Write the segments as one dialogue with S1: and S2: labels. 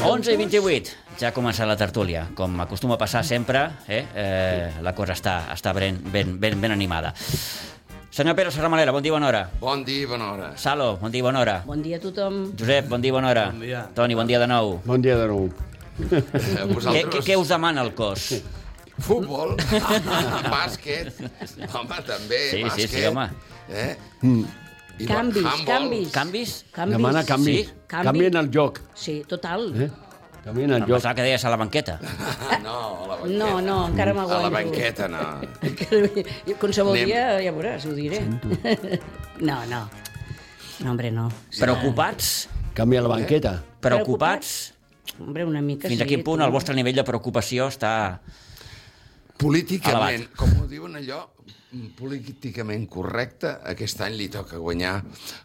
S1: Doncs
S2: 11 i 28, ja ha començat la tertúlia. Com acostuma a passar sempre, eh? Eh, la cosa està, està ben, ben, ben, ben animada. Senyor Pere Serramalera, bon dia, bona hora.
S3: Bon dia, bona hora.
S2: Salo, bon dia, bona hora.
S1: Bon dia a tothom.
S2: Josep, bon dia, bona hora. Bon dia. Toni, bon dia de nou.
S4: Bon dia de nou.
S3: Eh,
S2: Què,
S3: Vosaltres...
S2: què, què us demana el cos?
S3: Futbol, bàsquet, home, també,
S2: Sí, sí,
S3: bàsquet.
S2: sí, home. Mm.
S3: Eh? I
S1: Canvis,
S3: handball.
S1: canvis.
S2: Canvis?
S1: Canvis.
S4: Demana canvis.
S2: Sí?
S1: Canvi.
S4: Canvien el joc.
S1: Sí, total.
S4: Eh? Canvien
S2: Em
S4: el joc.
S2: pensava que deies a la banqueta.
S3: Ah, No, a la banqueta.
S1: No, no, encara
S3: A
S1: m'aguanto.
S3: la banqueta, no.
S1: Qualsevol
S3: Anem.
S1: dia, ja veuràs, ho diré. No, no. No, hombre, no.
S2: Preocupats?
S4: Canvia
S5: Eh?
S4: la banqueta.
S2: Preocupats?
S1: Hombre, una mica
S2: Fins
S1: sí.
S2: a quin punt
S1: tu.
S2: el vostre nivell de preocupació està...
S3: Políticament,
S2: Elevat.
S3: com ho diuen allò, políticament correcte, aquest any li toca guanyar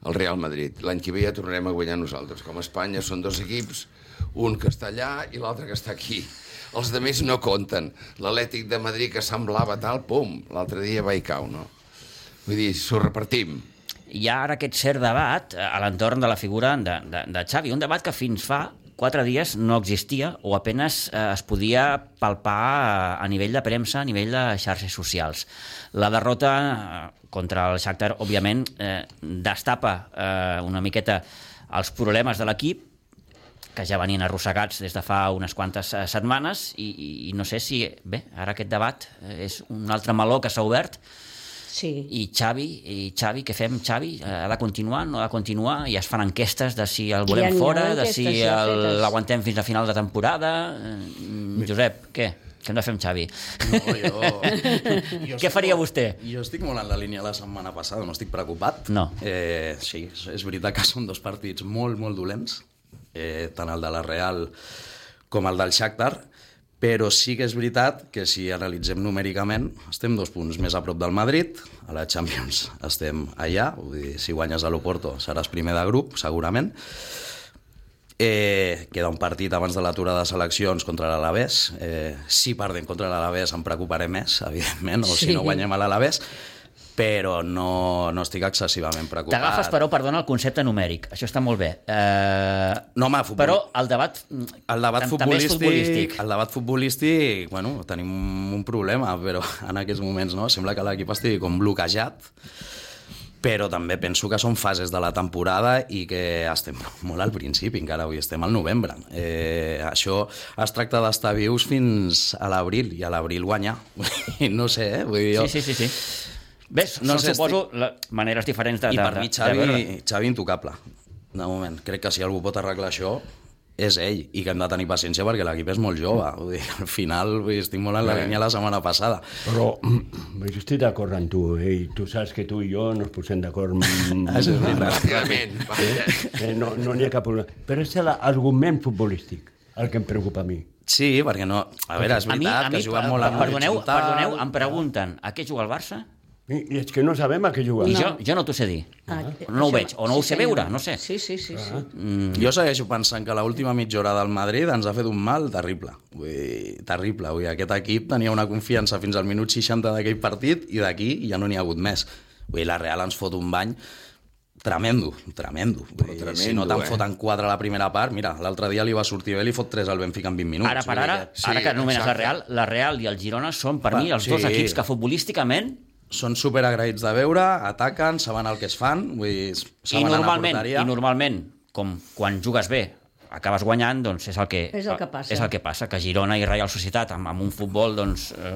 S3: el Real Madrid. L'any que ve ja tornarem a guanyar nosaltres. Com a Espanya són dos equips, un que està allà i l'altre que està aquí. Els de més no compten. L'Atlètic de Madrid que semblava tal, pum, l'altre dia va i cau, no? Vull dir, s'ho repartim.
S2: hi ha ara aquest cert debat eh, a l'entorn de la figura de, de, de Xavi, un debat que fins fa quatre dies no existia o apenas eh, es podia palpar eh, a nivell de premsa, a nivell de xarxes socials. La derrota eh, contra el Shakhtar, òbviament, eh, destapa eh, una miqueta els problemes de l'equip, que ja venien arrossegats des de fa unes quantes eh, setmanes, i, i, i no sé si, bé, ara aquest debat eh, és un altre meló que s'ha obert,
S1: Sí.
S2: i Xavi, i Xavi, què fem, Xavi? Eh, Ha de continuar, no ha de continuar? I es fan enquestes de si el
S1: Hi ha-
S2: volem
S1: hi ha
S2: fora, de si
S1: enquestes ja
S2: el-
S1: fetes.
S2: l'aguantem fins a final de temporada... Eh, Josep, què? Què hem de fer amb Xavi?
S5: No, jo... jo
S2: Què faria vostè?
S5: Jo estic molt en la línia de la setmana passada, no estic preocupat.
S2: No.
S5: Eh, sí, és- és veritat que són dos partits molt, molt dolents, eh, tant el de la Real com el del Shakhtar, però sí que és veritat que si analitzem numèricament estem dos punts més a prop del Madrid, a la Champions estem allà, vull dir, si guanyes a l'Oporto seràs primer de grup, segurament, Eh, queda un partit abans de l'aturada de seleccions contra l'Alavés. Eh, si perdem contra l'Alavés em preocuparé més, evidentment, o
S1: Sí.
S5: si no guanyem a l'Alavés, però no, no estic excessivament preocupat.
S2: T'agafes, però, perdona, el concepte numèric. Això està molt bé. Eh,
S5: No, home, futbol...
S2: però el debat,
S5: el debat
S2: tam- també és
S5: futbolístic,
S2: futbolístic.
S5: El debat futbolístic, bueno, tenim un problema, però en aquests moments no, sembla que l'equip estigui com bloquejat, però també penso que són fases de la temporada i que estem molt al principi, encara avui estem al novembre. Eh, això es tracta d'estar vius fins a l'abril, i a l'abril guanyar. no sé, eh? Vull dir, jo,
S2: Sí, sí, sí, sí. Ves, no
S5: No sé,
S2: suposo la, maneres diferents de,
S5: i
S2: de,
S5: per mi
S2: de- de veure.
S5: Xavi, Xavi intocable, de moment. Crec que si algú pot arreglar això, és ell, i que hem de tenir paciència perquè l'equip és molt jove. Vull dir, al final vull dir, estic molt en la línia la setmana passada.
S4: Però mm, jo estic d'acord amb tu. Eh? Tu saps que tu i jo no ens posem d'acord. mm,
S5: Això Ah, és veritat.
S3: Ràpidament. vaja.
S4: Eh, no no n'hi ha cap problema. Però és l'argument futbolístic el que em preocupa a mi.
S5: Sí, perquè no... A veure, és
S2: a mi,
S5: veritat
S2: a mi,
S5: que juguen molt a
S2: perdoneu, perdoneu, em pregunten a què juga el Barça?
S4: I, i és que no sabem a què jugar.
S2: I jo, jo no t'ho sé dir.
S1: Ah,
S2: No ho
S1: sí,
S2: veig, o no ho sé
S1: senyor.
S2: veure, no sé. Ah.
S1: Sí, sí, sí. sí.
S5: Mm, Jo segueixo pensant que l'última mitja hora del Madrid ens ha fet un mal terrible. Vull dir, terrible. Vull dir, aquest equip tenia una confiança fins al minut 60 d'aquell partit i d'aquí ja no n'hi ha hagut més. Vull dir, la Real ens fot un bany tremendo, tremendo. Vull dir,
S3: Però
S5: si no
S3: tremendo,
S5: te'n
S3: eh?
S5: foten quatre a la primera part, mira, l'altre dia li va sortir bé, li fot tres al Benfica en 20 minuts.
S2: Ara per
S5: Vull dir
S2: ara,
S5: que
S2: sí, ara
S3: sí,
S2: que anomenes la
S3: exacte.
S2: Real, la Real i el Girona són per
S5: Va,
S2: mi els
S5: sí.
S2: dos equips que futbolísticament
S5: Són superagraïts de veure, ataquen, saben el que es fan, vull dir,
S2: i
S5: saben anar a
S2: normalment,
S5: porteria.
S2: i normalment, com quan jugues bé, acabes guanyant, doncs és el que,
S1: És el que passa.
S2: És el que passa, que Girona i Real Societat amb, amb un futbol, doncs... Eh,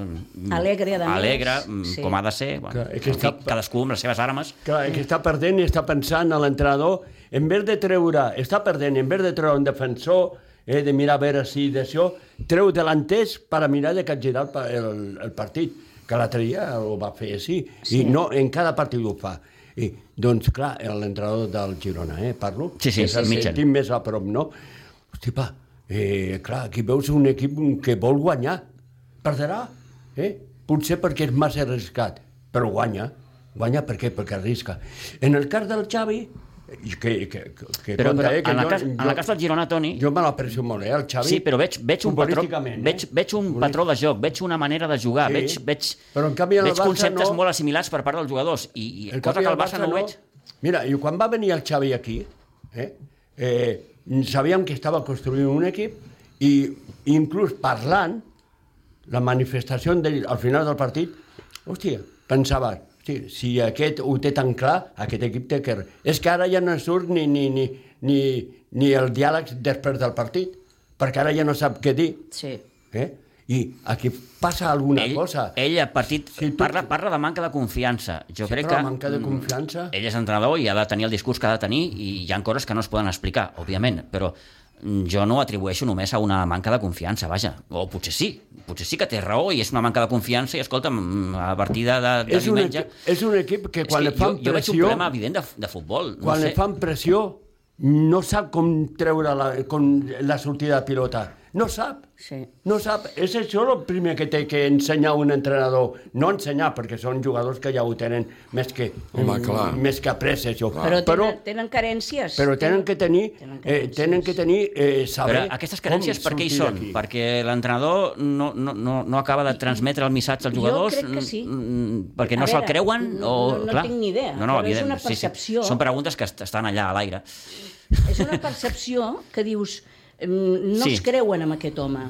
S1: Alegre, a més.
S2: Alegre,
S1: Sí.
S2: sí. com ha de ser, bueno,
S4: Clar, és que
S2: en fi,
S4: està-
S2: cadascú amb les seves armes.
S4: Clar, el que està perdent i està pensant a l'entrenador, en vez de treure, està perdent, en vez de treure un defensor, eh, de mirar a veure si d'això, treu delanters per a mirar de capgirar el, pa- el, el partit, que l'altre dia ho va fer així, sí. i no, en cada partit ho fa. I, doncs, clar, era l'entrenador del Girona, eh, parlo?
S2: Sí, sí,
S4: Que és el
S2: Mitchell.
S4: sentim més a prop, no? Hosti, pa, eh, clar, aquí veus un equip que vol guanyar. Perdrà, eh? Potser perquè és massa arriscat, però guanya. Guanya per què? Perquè arrisca. En el cas del Xavi, eh, que, que, que, que
S2: Però,
S4: compte,
S2: però
S4: eh, que
S2: en, la
S4: jo-
S2: cas, en la
S4: jo-
S2: cas del Girona, Toni,
S4: jo me l'aprecio molt, eh, el Xavi.
S2: Sí, però veig, veig, un patró,
S4: Futbolísticament, eh?
S2: veig, veig un patró de joc, veig una manera de jugar,
S4: Sí.
S2: sí. veig, veig,
S4: Però, en canvi, en el
S2: veig
S4: Barça
S2: conceptes
S4: no.
S2: molt assimilats per part dels jugadors, i, i
S4: El
S2: cosa
S4: canvi
S2: que
S4: del
S2: el Barça, no, no veig.
S4: Mira, i quan va venir el Xavi aquí, eh, eh, sabíem que estava construint un equip i inclús parlant, la manifestació d'ell al final del partit, hòstia, pensava, hòstia, si aquest ho té tan clar, aquest equip té que... És que ara ja no surt ni, ni, ni, ni, ni el diàleg després del partit, perquè ara ja no sap què dir.
S1: Sí.
S4: Eh? I aquí passa alguna
S2: Ell,
S4: cosa.
S2: ell a partit,
S4: Sí, tu-
S2: parla, parla de manca de confiança. Jo crec
S4: però
S2: que
S4: manca de
S2: mm,
S4: confiança.
S2: ell és entrenador i ha de tenir el discurs que ha de tenir i hi ha coses que no es poden explicar, òbviament, però mm, jo no ho atribueixo només a una manca de confiança, vaja. O potser sí, potser sí que té raó i és una manca de confiança i, escolta, a partir de, de, de
S4: és, un
S2: diumenge...
S4: equip, és un equip que quan
S2: és
S4: li
S2: que
S4: fan
S2: jo, jo veig un
S4: pressió...
S2: problema evident de, de futbol.
S4: quan
S2: no
S4: li
S2: sé.
S4: fan pressió no sap com treure la, com la sortida de pilota. No sap.
S1: Sí.
S4: No sap. És això el primer que té que ensenyar un entrenador. No ensenyar, perquè són jugadors que ja ho tenen més que,
S3: Home, clar.
S4: més que après, això.
S1: Però, tenen, tenen carències.
S4: Ah. però tenen que tenir,
S1: Tenen
S4: eh,
S1: carències.
S4: tenen que tenir eh, saber
S2: Però aquestes carències
S4: com
S2: per què hi
S4: sortir
S2: són?
S4: d'aquí.
S2: Perquè l'entrenador no, no, no, no acaba de transmetre el missatge als
S1: Jo
S2: jugadors?
S1: crec que sí.
S2: mm, Perquè
S1: A
S2: no se'l
S1: veure,
S2: creuen?
S1: no-
S2: o,
S1: no- no
S2: clar,
S1: tinc ni idea,
S2: No, no,
S1: però és
S2: evident,
S1: una
S2: Sí,
S1: percepció.
S2: sí. Són preguntes que est- estan allà a l'aire.
S1: És una percepció que dius, mm, no sí.
S2: Sí.
S1: es creuen amb aquest home.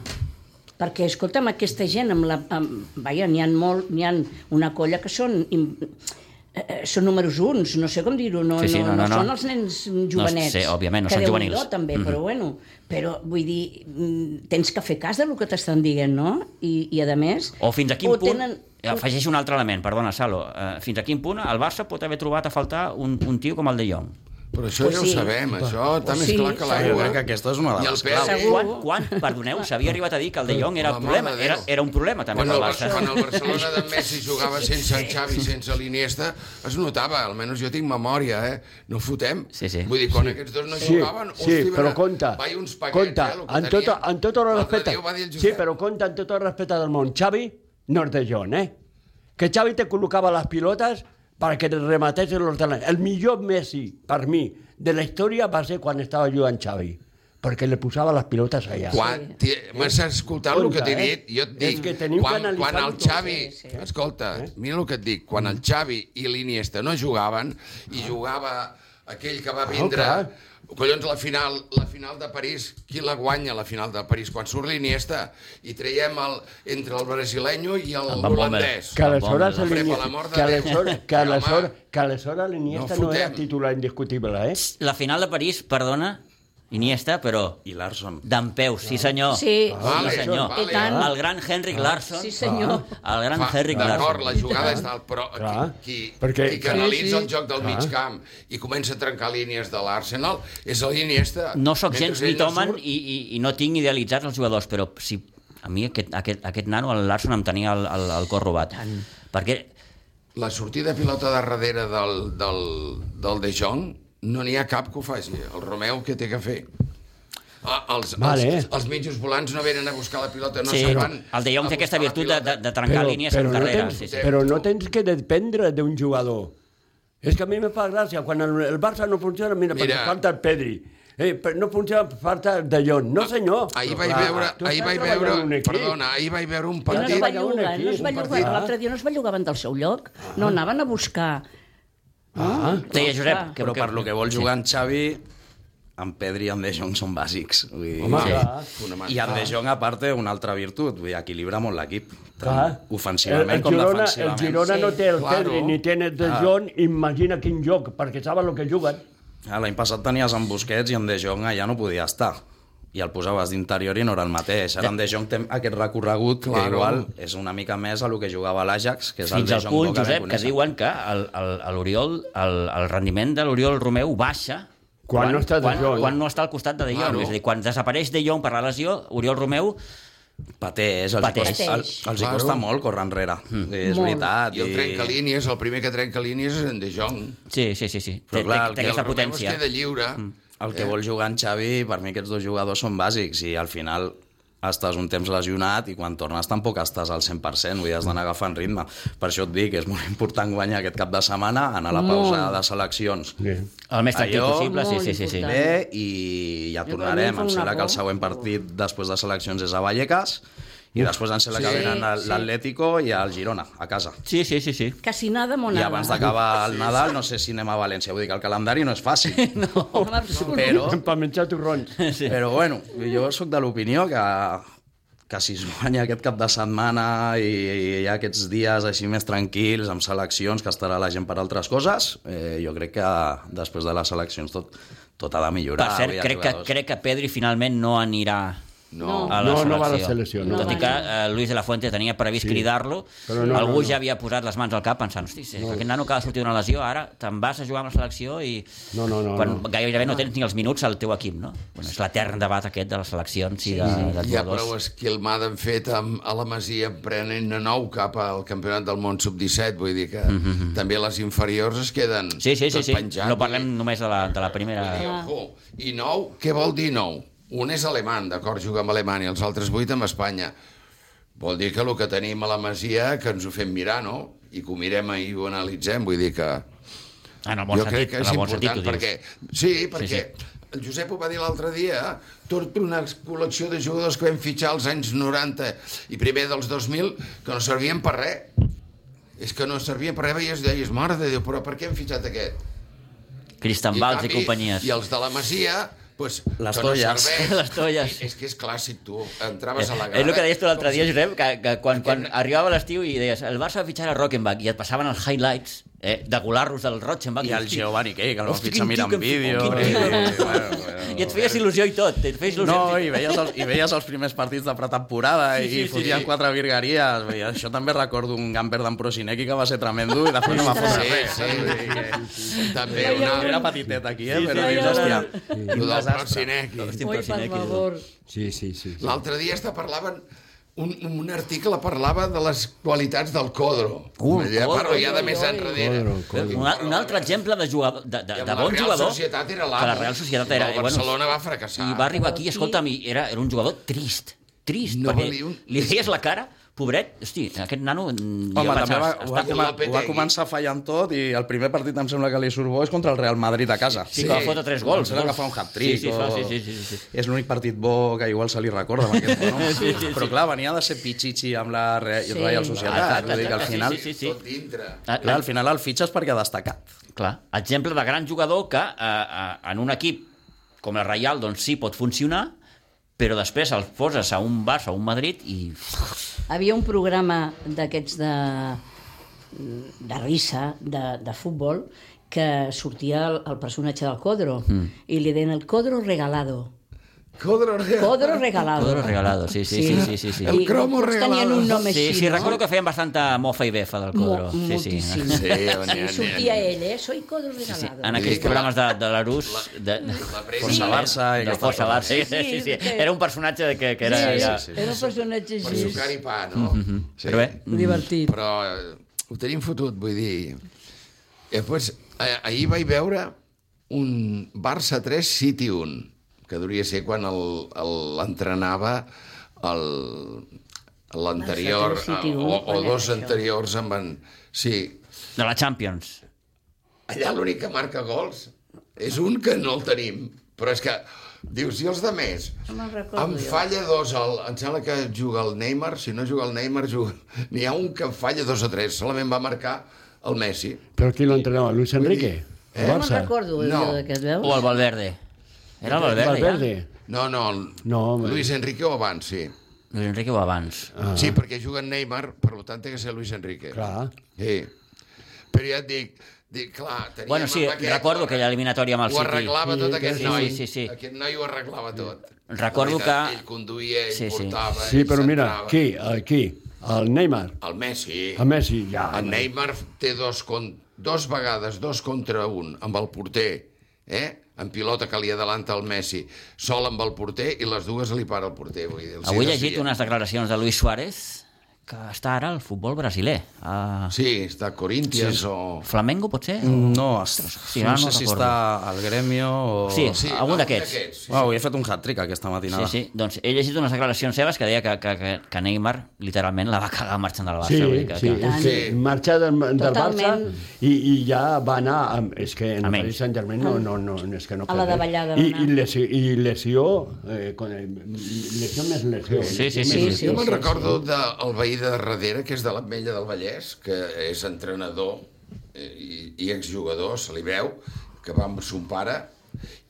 S1: Perquè, escolta'm, aquesta gent, amb la, amb, vaja, n'hi ha, molt, n'hi ha una colla que són... im- eh, eh, són números uns, no sé com dir-ho, no,
S2: Sí, sí,
S1: no,
S2: no,
S1: no,
S2: no, no.
S1: són els nens jovenets.
S2: sí, òbviament, no
S1: que
S2: són
S1: Déu-n'hi-do,
S2: juvenils. Mhm.
S1: també, però bueno, però vull dir, mm, tens que fer cas del que t'estan dient, no? I, i a més...
S2: O fins a quin
S1: ho
S2: punt...
S1: Tenen,
S2: Afegeix un altre element, perdona, Salo. eh, Fins a quin punt el Barça pot haver trobat a faltar un, un tio com el de Jong?
S3: Però això
S1: Pues
S3: ja
S1: sí.
S3: ho sabem, això està més
S1: sí,
S3: clar que
S1: sí.
S5: Ah, Jo
S3: l'aigua.
S5: crec que aquesta és una
S3: I
S5: de
S3: el
S5: les
S3: Pep.
S5: claus.
S1: Segur.
S2: Quan, quan, perdoneu, s'havia arribat a dir que el de Jong era el
S3: La mare
S2: problema.
S3: de Déu.
S2: Era, era un problema també
S3: Quan
S2: pel
S3: el,
S2: Barça.
S3: quan el Barcelona de Messi jugava sense el Xavi, sense l'Iniesta, es notava, almenys jo tinc memòria, eh? No fotem.
S2: Sí, sí.
S3: Vull dir, quan aquests dos no
S4: Sí,
S3: jugaven...
S4: sí,
S3: hosti,
S4: però
S3: va-
S4: compte,
S3: Vai uns paquets,
S4: compte,
S3: eh, el que
S4: en, tot,
S3: tenien.
S4: en tota tot el
S3: L'altre
S4: respecte,
S3: dia ho va dir el
S4: sí,
S3: Josep.
S4: però compte, en tot el respecte del món. Xavi no és de John, eh? Que Xavi te col·locava les pilotes perquè te rematessin los delants. El millor Messi, per mi, de la història va ser quan estava jugant Xavi, perquè li posava les pilotes allà.
S3: Quan, sí. M'has escoltat el
S4: Compte,
S3: que t'he
S4: eh?
S3: dit? Jo et dic,
S4: És que teniu que
S3: quan, quan el
S4: analitzar-ho tot.
S3: Xavi...
S1: Sí,
S3: Sí,
S1: sí.
S3: sí. Escolta, eh? mira el que et dic.
S4: Mm.
S3: Quan el Xavi i l'Iniesta no jugaven, i jugava aquell que va vindre...
S4: Ah, clar.
S3: Collons, la final, la final de París, qui la guanya, la final de París? Quan surt l'Iniesta i traiem el, entre el brasilenyo i el
S2: El Van Bommel.
S3: holandès.
S4: Que aleshores
S2: Hombre,
S4: l'Iniesta-
S3: per l'amor de
S4: que
S3: Déu.
S4: aleshores- que
S3: Home,
S4: aleshores- que aleshores l'Iniesta
S3: no
S4: no era
S3: fotem.
S4: titular indiscutible, eh?
S2: La final de París, perdona, Iniesta, però
S5: I Larson.
S2: d'en peus, sí senyor.
S1: Sí,
S3: Vale,
S2: sí senyor.
S3: vale. Ah.
S1: I tant.
S2: El gran Henrik Larsson.
S1: Sí, senyor.
S2: El gran
S3: Fa-
S2: Henrik
S3: D'acord, la
S2: Larsson.
S3: jugada és tal, però
S4: Clar.
S3: qui,
S4: Perquè-
S3: Perquè... qui canalitza
S1: Sí, sí.
S3: el joc del mig camp i comença a trencar línies de l'Arsenal és el Iniesta.
S2: No sóc
S3: Mentre
S2: gens
S3: ell
S2: mitomen
S3: surt-
S2: i, i, i no tinc idealitzats els jugadors, però si a mi aquest, aquest, aquest nano, el Larsson, em tenia el, el, el cor robat. Perquè
S3: La sortida de pilota de darrere del, del, del De Jong no n'hi ha cap que ho faci. El Romeu què té que fer? Ah, els,
S4: Vale.
S3: els, els mitjos volants no venen a buscar la pilota, no
S2: sí,
S3: se'n van.
S2: el de Jong
S3: a
S2: té aquesta
S3: buscar la
S2: virtut de, de,
S3: pilota.
S2: de trencar línies en carrera.
S4: No tens,
S2: sí, sí.
S4: Però no tens que dependre d'un jugador. És que a mi me fa gràcia, quan el, el Barça no funciona, mira, mira.
S3: Mira.
S4: perquè falta el Pedri. Eh, però no funciona per falta de John. No, senyor.
S3: Ahir
S4: Però
S3: vaig
S4: clar,
S3: veure,
S4: tu
S3: ahir
S4: estàs
S3: vaig
S4: treballant en un
S3: veure,
S4: equip.
S3: perdona, ahir vaig veure
S1: no
S3: un
S1: es
S3: partit
S1: va
S4: Partit.
S1: llogar, no es va
S4: Un
S1: llogar.
S4: partit.
S1: L'altre dia no es va llogaven del seu lloc. No anaven a buscar.
S4: Ah,
S2: Deia Josep,
S1: Clar.
S2: que,
S5: Però per lo que vol jugar en Xavi, en Pedri i en De Jong són bàsics. Vull dir,
S4: Home, clar.
S5: I en De
S4: Ah.
S5: Jong, a part, té una altra virtut. Vull dir, equilibra molt l'equip.
S4: clar.
S5: Tant ofensivament
S4: el, el
S5: com
S4: Girona, el
S5: defensivament.
S4: Girona no
S1: Sí.
S4: té el
S3: Claro.
S4: Pedri ni té el
S2: Ah.
S4: de John, imagina quin joc, perquè saben el que juguen.
S5: Ah, L'any passat tenies en Busquets i en De Jong allà no podia estar i el posaves d'interior i no era el mateix. Ara en De Jong té aquest recorregut que
S3: Claro.
S5: igual és una mica més a lo que jugava a l'Ajax, que és el
S2: fins
S5: De
S2: al
S5: Jong
S2: punt,
S5: que
S2: Josep, que
S5: coneixem.
S2: diuen que el- el- a l'Oriol el, el rendiment de l'Oriol Romeu baixa
S4: Quan no està De
S2: quan,
S4: Jong.
S2: quan no està al costat de De Jong.
S3: Claro.
S2: És a dir, quan desapareix De Jong per la lesió, Oriol Romeu
S5: Pateix, els,
S2: Pateix.
S5: Pateix. Els, els hi
S3: Claro.
S5: costa molt córrer enrere, mm. és
S1: Molt.
S5: veritat.
S3: I el trenca línies, el primer que trenca línies és en De Jong.
S2: Sí, sí, sí. sí.
S5: Però
S2: Té,
S5: clar,
S2: clar,
S5: el
S2: té, té
S5: que
S2: aquesta
S3: el Romeu
S2: potència. Mm.
S3: es queda lliure.
S5: El que vol jugar en Xavi, per mi aquests dos jugadors són bàsics i al final estàs un temps lesionat i quan tornes tampoc estàs al 100%, vull dir, has d'anar agafant ritme. Per això et dic, és molt important guanyar aquest cap de setmana, anar a la pausa de seleccions.
S4: Sí.
S2: El més tranquil
S5: Allò-
S2: possible, sí, sí, sí. sí.
S1: Molt
S5: bé i ja
S1: Jo
S5: tornarem.
S1: per mi em
S5: Em
S1: fa
S5: sembla
S1: una
S5: que el
S1: por.
S5: següent partit després de seleccions és a Vallecas i després em sembla que
S3: Sí,
S5: venen a
S1: sí.
S5: l'Atlético i al Girona, a casa.
S2: Sí, sí, sí, sí.
S1: Quasi nada,
S5: I
S1: monada.
S5: abans d'acabar el Nadal no sé si anem a València. Vull dir que el calendari no és fàcil,
S1: No, en absolut.
S5: però,
S4: Per menjar torrons.
S5: però bueno, jo sóc de l'opinió que que si es guanya aquest cap de setmana i, i hi ha aquests dies així més tranquils, amb seleccions, que estarà la gent per altres coses, eh, jo crec que després de les seleccions tot, tot ha de millorar.
S2: Per cert,
S5: Hi ha
S2: crec que,
S5: jugadors.
S2: crec que Pedri finalment no anirà
S3: No.
S2: a la
S4: No,
S2: selecció.
S4: no va a la selecció, no.
S2: Tot i
S1: No
S2: que
S1: va,
S2: eh, Luis de la Fuente tenia previst sí. cridar-lo,
S4: Però no,
S2: algú
S4: no, no.
S2: ja havia posat les mans al cap pensant, hosti, si aquest nano acaba de sortir d'una lesió, ara te'n vas a jugar amb la selecció i...
S4: No, no, no,
S2: quan
S4: no.
S2: gairebé no tens ni els minuts al teu equip, no? Bueno, és l'etern debat aquest de les seleccions i de, de
S3: Hi ha prou
S2: jugadors.
S3: esquilmada han fet amb, a la Masia prenent a nou cap al campionat del món sub-17, vull dir que mm -hmm. també les inferiors es queden
S2: Mm-hmm, Sí, sí, sí,
S3: tot
S2: sí.
S3: penjat.
S2: No parlem només de la, de la primera...
S3: I, ojo, I nou, què vol dir nou? Un és alemany, d'acord, juga amb Alemanya, els altres vuit amb Espanya. Vol dir que el que tenim a la Masia, que ens ho fem mirar, no? I que ho mirem i ho analitzem, vull dir que...
S2: Ah, En el bon
S3: jo
S2: sentit,
S3: crec que
S2: en
S3: és
S2: el bon sentit,
S3: important
S2: ho dius.
S3: perquè... Sí, perquè el Josep ho va dir l'altre dia, tot una col·lecció de jugadors que vam fitxar als anys 90 i primer dels 2000 que no servien per res. És que no servia per res, veies, deies, mare de Déu, però per què hem fitxat aquest?
S2: Cristian Valls i,
S3: canvi,
S2: companyies.
S3: I els de la Masia, pues,
S5: Les
S3: que
S5: tolles.
S3: serveix.
S2: Les tolles.
S3: És, és que és clàssic, tu. Entraves a la grada...
S2: És el que deies tu l'altre dia, Josep, que, que quan, quan
S3: Aquest-
S2: arribava l'estiu i deies el Barça va fitxar a Rockenbach i et passaven els highlights eh, de golarros del Rockenbach
S5: I el Giovanni Key, que el va
S2: Hosti,
S5: fitxar
S2: quin tio
S5: mirant
S2: que em-
S5: vídeo.
S2: quin
S5: I,
S2: tio.
S5: bueno, bueno.
S2: I et feies il·lusió i tot, et feies il·lusió.
S5: No, i veies, els, i veies els primers partits de pretemporada sí, sí, i fotien sí. quatre virgueries. Vull dir, Això també recordo un gamper d'en Prosinecki que va ser tremendo i després no va fotre
S3: Sí,
S5: res.
S3: sí, sí. També una...
S5: Era petitet aquí, eh?
S2: Sí, sí,
S5: però dius,
S1: sí.
S5: hòstia,
S3: Lo
S5: quin
S3: del
S5: desastre.
S3: Marcinec.
S1: Ui, per favor.
S4: Sí, sí, sí. sí.
S3: L'altre dia hasta parlaven un, un article parlava de les qualitats del Codro.
S2: Uh,
S3: ja
S2: Codro,
S3: parlo ja de més enrere.
S4: Codro, Codro.
S2: Un, un altre exemple de, jugador, de, de,
S3: I amb
S2: de bon
S3: la Real
S2: jugador
S3: Societat era l'amo.
S2: que la Real Societat era...
S3: El Barcelona va fracassar.
S2: I va arribar aquí,
S1: Però aquí-
S2: escolta'm, i era, era un jugador trist, trist,
S3: No
S2: perquè
S3: valia un-
S2: li veies la cara, pobret, hosti, aquest nano...
S5: Home, també va, ho va,
S3: està com
S5: va,
S3: el
S5: ho va
S3: Lopetegui.
S5: començar fallant tot i el primer partit em sembla que li surt bo és contra el Real Madrid a casa.
S2: Sí, que va fotre tres gols.
S5: Em sembla que
S2: gols.
S5: fa un hat-trick.
S2: Sí, sí,
S5: o...
S2: fa- sí, sí, sí, sí, sí.
S5: És l'únic partit bo que igual se li recorda. amb Aquest, no?
S2: Sí, sí, sí.
S5: Però clar, venia de ser pitxitxi amb la Re
S1: Sí.
S5: Real Societat.
S2: Exacte,
S5: Vull dir que al
S2: exacte,
S5: final...
S2: Ah, sí, sí, sí.
S3: Tot dintre.
S2: Ah,
S5: Clar, al final el fitxes perquè ha destacat.
S2: Clar, exemple de gran jugador que eh, eh, en un equip com la Reial doncs sí pot funcionar, però després el poses a un Barça o un Madrid i...
S1: Havia un programa d'aquests de, de risa, de, de futbol, que sortia el, el personatge del Codro, mm. i li deien el Codro regalado.
S3: Codro eh? Real.
S1: Codro regalado.
S2: Codro regalado, sí, sí, sí, sí, sí, sí.
S3: El
S1: I
S3: cromo
S1: tots
S3: regalado.
S1: Tenien un nom així,
S2: Sí, sí,
S1: no?
S2: recordo que feien bastanta mofa i befa del
S1: Mo-
S2: Codro. Sí, sí.
S1: moltíssim.
S3: Sí, on hi ha-
S1: I sortia ell, eh? Soy Codro regalado.
S2: Sí, en
S3: Sí,
S2: aquells
S3: clar.
S2: programes de, de l'Arús... De...
S3: La premsa.
S5: Força Barça i
S2: De
S5: aquestes
S2: Força
S5: coses.
S2: Barça, sí, sí, sí, sí. Era un personatge que, que era...
S1: sí,
S2: era...
S1: sí, sí, Mm-hmm, era un personatge
S3: Per
S1: així,
S3: sucar i pa, no? Sí.
S2: Però bé,
S1: divertit.
S3: Però eh, ho tenim fotut, vull dir... I després, eh, ahir vaig veure un Barça 3, City 1, que duria ser quan el- el- l'entrenava el- l'anterior,
S1: Barça 3, City
S3: eh,
S1: 1,
S3: o, o
S1: quan era
S3: dos
S1: això?
S3: anteriors en van... Sí,
S2: de la Champions.
S3: allà l'únic que marca gols és un que no el tenim, però és que dius, i els de més?
S1: No me'n recordo
S3: Em
S1: jo.
S3: falla dos, el, em sembla que juga el Neymar, si no juga el Neymar, juga... n'hi ha un que en falla dos o tres, solament va marcar el Messi.
S4: Però qui l'entrenava? Luis Enrique?
S1: Eh?
S4: El
S1: No me'n
S4: Barça?
S1: recordo,
S3: No.
S1: no. jo, d'aquest, veus?
S2: O el Valverde. Era el Valverde,
S4: Valverde?
S2: ja?
S3: No, no, el...
S4: No, home.
S3: Luis Enrique o abans, sí.
S2: Luis Enrique o abans.
S3: Ah. Sí, perquè juga en Neymar, per tant, té que ser Luis Enrique.
S4: Clar.
S3: Sí. Però ja et dic, dic clar, teníem
S2: Bueno, sí,
S3: amb aquest,
S2: recordo
S3: ho
S2: aquella eliminatòria amb el
S3: Ho
S2: City.
S3: arreglava tot aquest
S2: sí,
S3: noi.
S2: sí, sí, sí.
S3: Aquest noi ho arreglava tot.
S2: Recordo
S3: La veritat,
S2: que-
S3: Ell conduïa, ell
S2: Sí,
S3: sí,
S2: sí.
S3: portava,
S4: Sí,
S3: ell
S4: però mira,
S3: centrava.
S4: qui? El, qui? El Neymar?
S3: El Messi.
S4: El Messi? Ja.
S3: El Neymar té dos, con... dos vegades, dos contra un, amb el porter eh? en pilota que li adelanta el Messi, sol amb el porter i les dues li para el porter. Vull dir, els
S2: Avui
S3: hi
S2: he llegit
S3: desfia.
S2: unes declaracions de Luis Suárez que està ara al futbol brasiler. A
S3: Sí, està a Corinthians sí. o...
S2: Flamengo, potser?
S5: No, sí,
S2: ara
S5: no,
S2: Mm. no
S5: sé si
S2: recordo.
S5: està al gremio o...
S2: Sí,
S3: Sí,
S2: algun d'aquests.
S3: d'aquests.
S5: Sí, Uau, he fet un hat-trick aquesta
S2: Sí,
S5: matinada.
S2: sí. Doncs he llegit unes declaracions seves que deia que, que, que, que Neymar literalment la va cagar marxant del Barça.
S4: Sí,
S2: vull dir que,
S4: sí,
S2: que...
S4: sí. marxar del, del Barça
S1: Totalment.
S4: i, i ja va anar, amb, és que en
S2: Amb
S4: el
S2: ell.
S4: Paris Saint-Germain no, no, no, no, és que no
S1: A la
S4: pot ser.
S1: davallada
S4: I,
S1: va
S4: i,
S1: anar.
S4: lesió, i lesió, eh, con el, lesió més lesió.
S2: Sí, sí, sí,
S1: Sí, sí,
S3: Jo me'n
S1: sí,
S3: recordo del veí de darrere, que és de l'Ametlla del Vallès, que és entrenador eh, i, i exjugador, se li veu, que va amb son pare,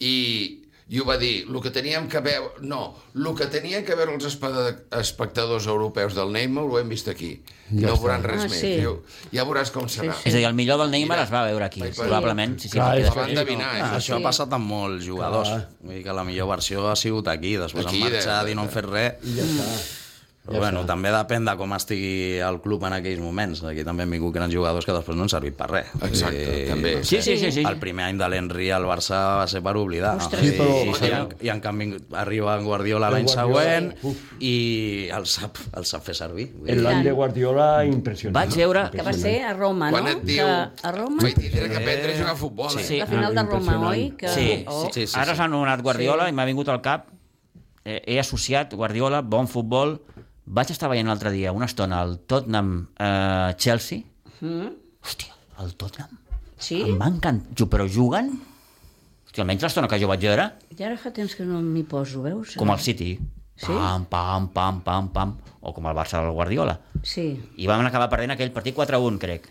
S3: i, i ho va dir, el que teníem que veure... No, el que tenien que veure els espe- espectadors europeus del Neymar ho hem vist aquí. Ja no veuran res
S1: Ah,
S3: més.
S1: sí.
S3: Diu, ja veuràs com serà.
S2: És a dir, el millor del Neymar es va veure aquí,
S3: Ai, per-
S2: probablement. Sí, sí,
S4: Clar,
S2: perquè
S4: és
S3: La
S2: després-
S3: van endevinar,
S5: Ah,
S3: eh?
S5: això ha passat amb molts jugadors.
S4: Clar.
S5: Vull dir que la millor versió ha sigut aquí, després
S3: Aquí, eh,
S5: han marxat
S3: de-
S5: i no han fet res.
S4: I ja està.
S2: Mm.
S5: Però bueno, també depèn de com estigui el club en aquells moments. Aquí també han vingut grans jugadors que després no han servit per res.
S3: Exacte,
S5: Vull dir,
S3: també.
S5: no
S2: Sí, sí, sí, sí.
S5: El primer any de l'Enri al Barça va ser per oblidar.
S1: Ostres.
S5: Vull
S4: Sí,
S5: dir,
S4: però-
S5: i, en, I en canvi arriba en Guardiola
S4: En
S5: l'any
S4: Guardiola,
S5: següent
S4: uf.
S5: i el sap, el sap fer servir. Vull dir,
S4: El l'any
S1: tant.
S4: de Guardiola, impressionant.
S2: Vaig veure...
S1: Que va ser a Roma, no?
S3: Quan et diu...
S1: Que a Roma,
S3: Vull dir, tindrà que aprendre a jugar a futbol,
S2: Sí.
S3: eh?
S1: la final de Roma, oi? Que...
S2: Sí,
S1: Oh.
S2: sí, sí,
S5: sí, sí,
S2: ara
S5: sí.
S2: s'ha anomenat Guardiola i m'ha vingut al cap. Eh, he associat Guardiola, bon futbol. Vaig estar veient l'altre dia, una estona, el Tottenham-Chelsea.
S1: Mm.
S2: Hòstia, el Tottenham?
S1: Sí?
S2: Em va encantar. Però juguen? Hòstia, almenys l'estona que jo vaig veure,
S1: I ara fa temps que no m'hi poso, veus?
S2: com el City.
S1: Sí?
S2: Pam, pam, pam, pam, pam. O com el Barça del Guardiola.
S1: Sí.
S2: I vam acabar perdent aquell partit 4-1, crec.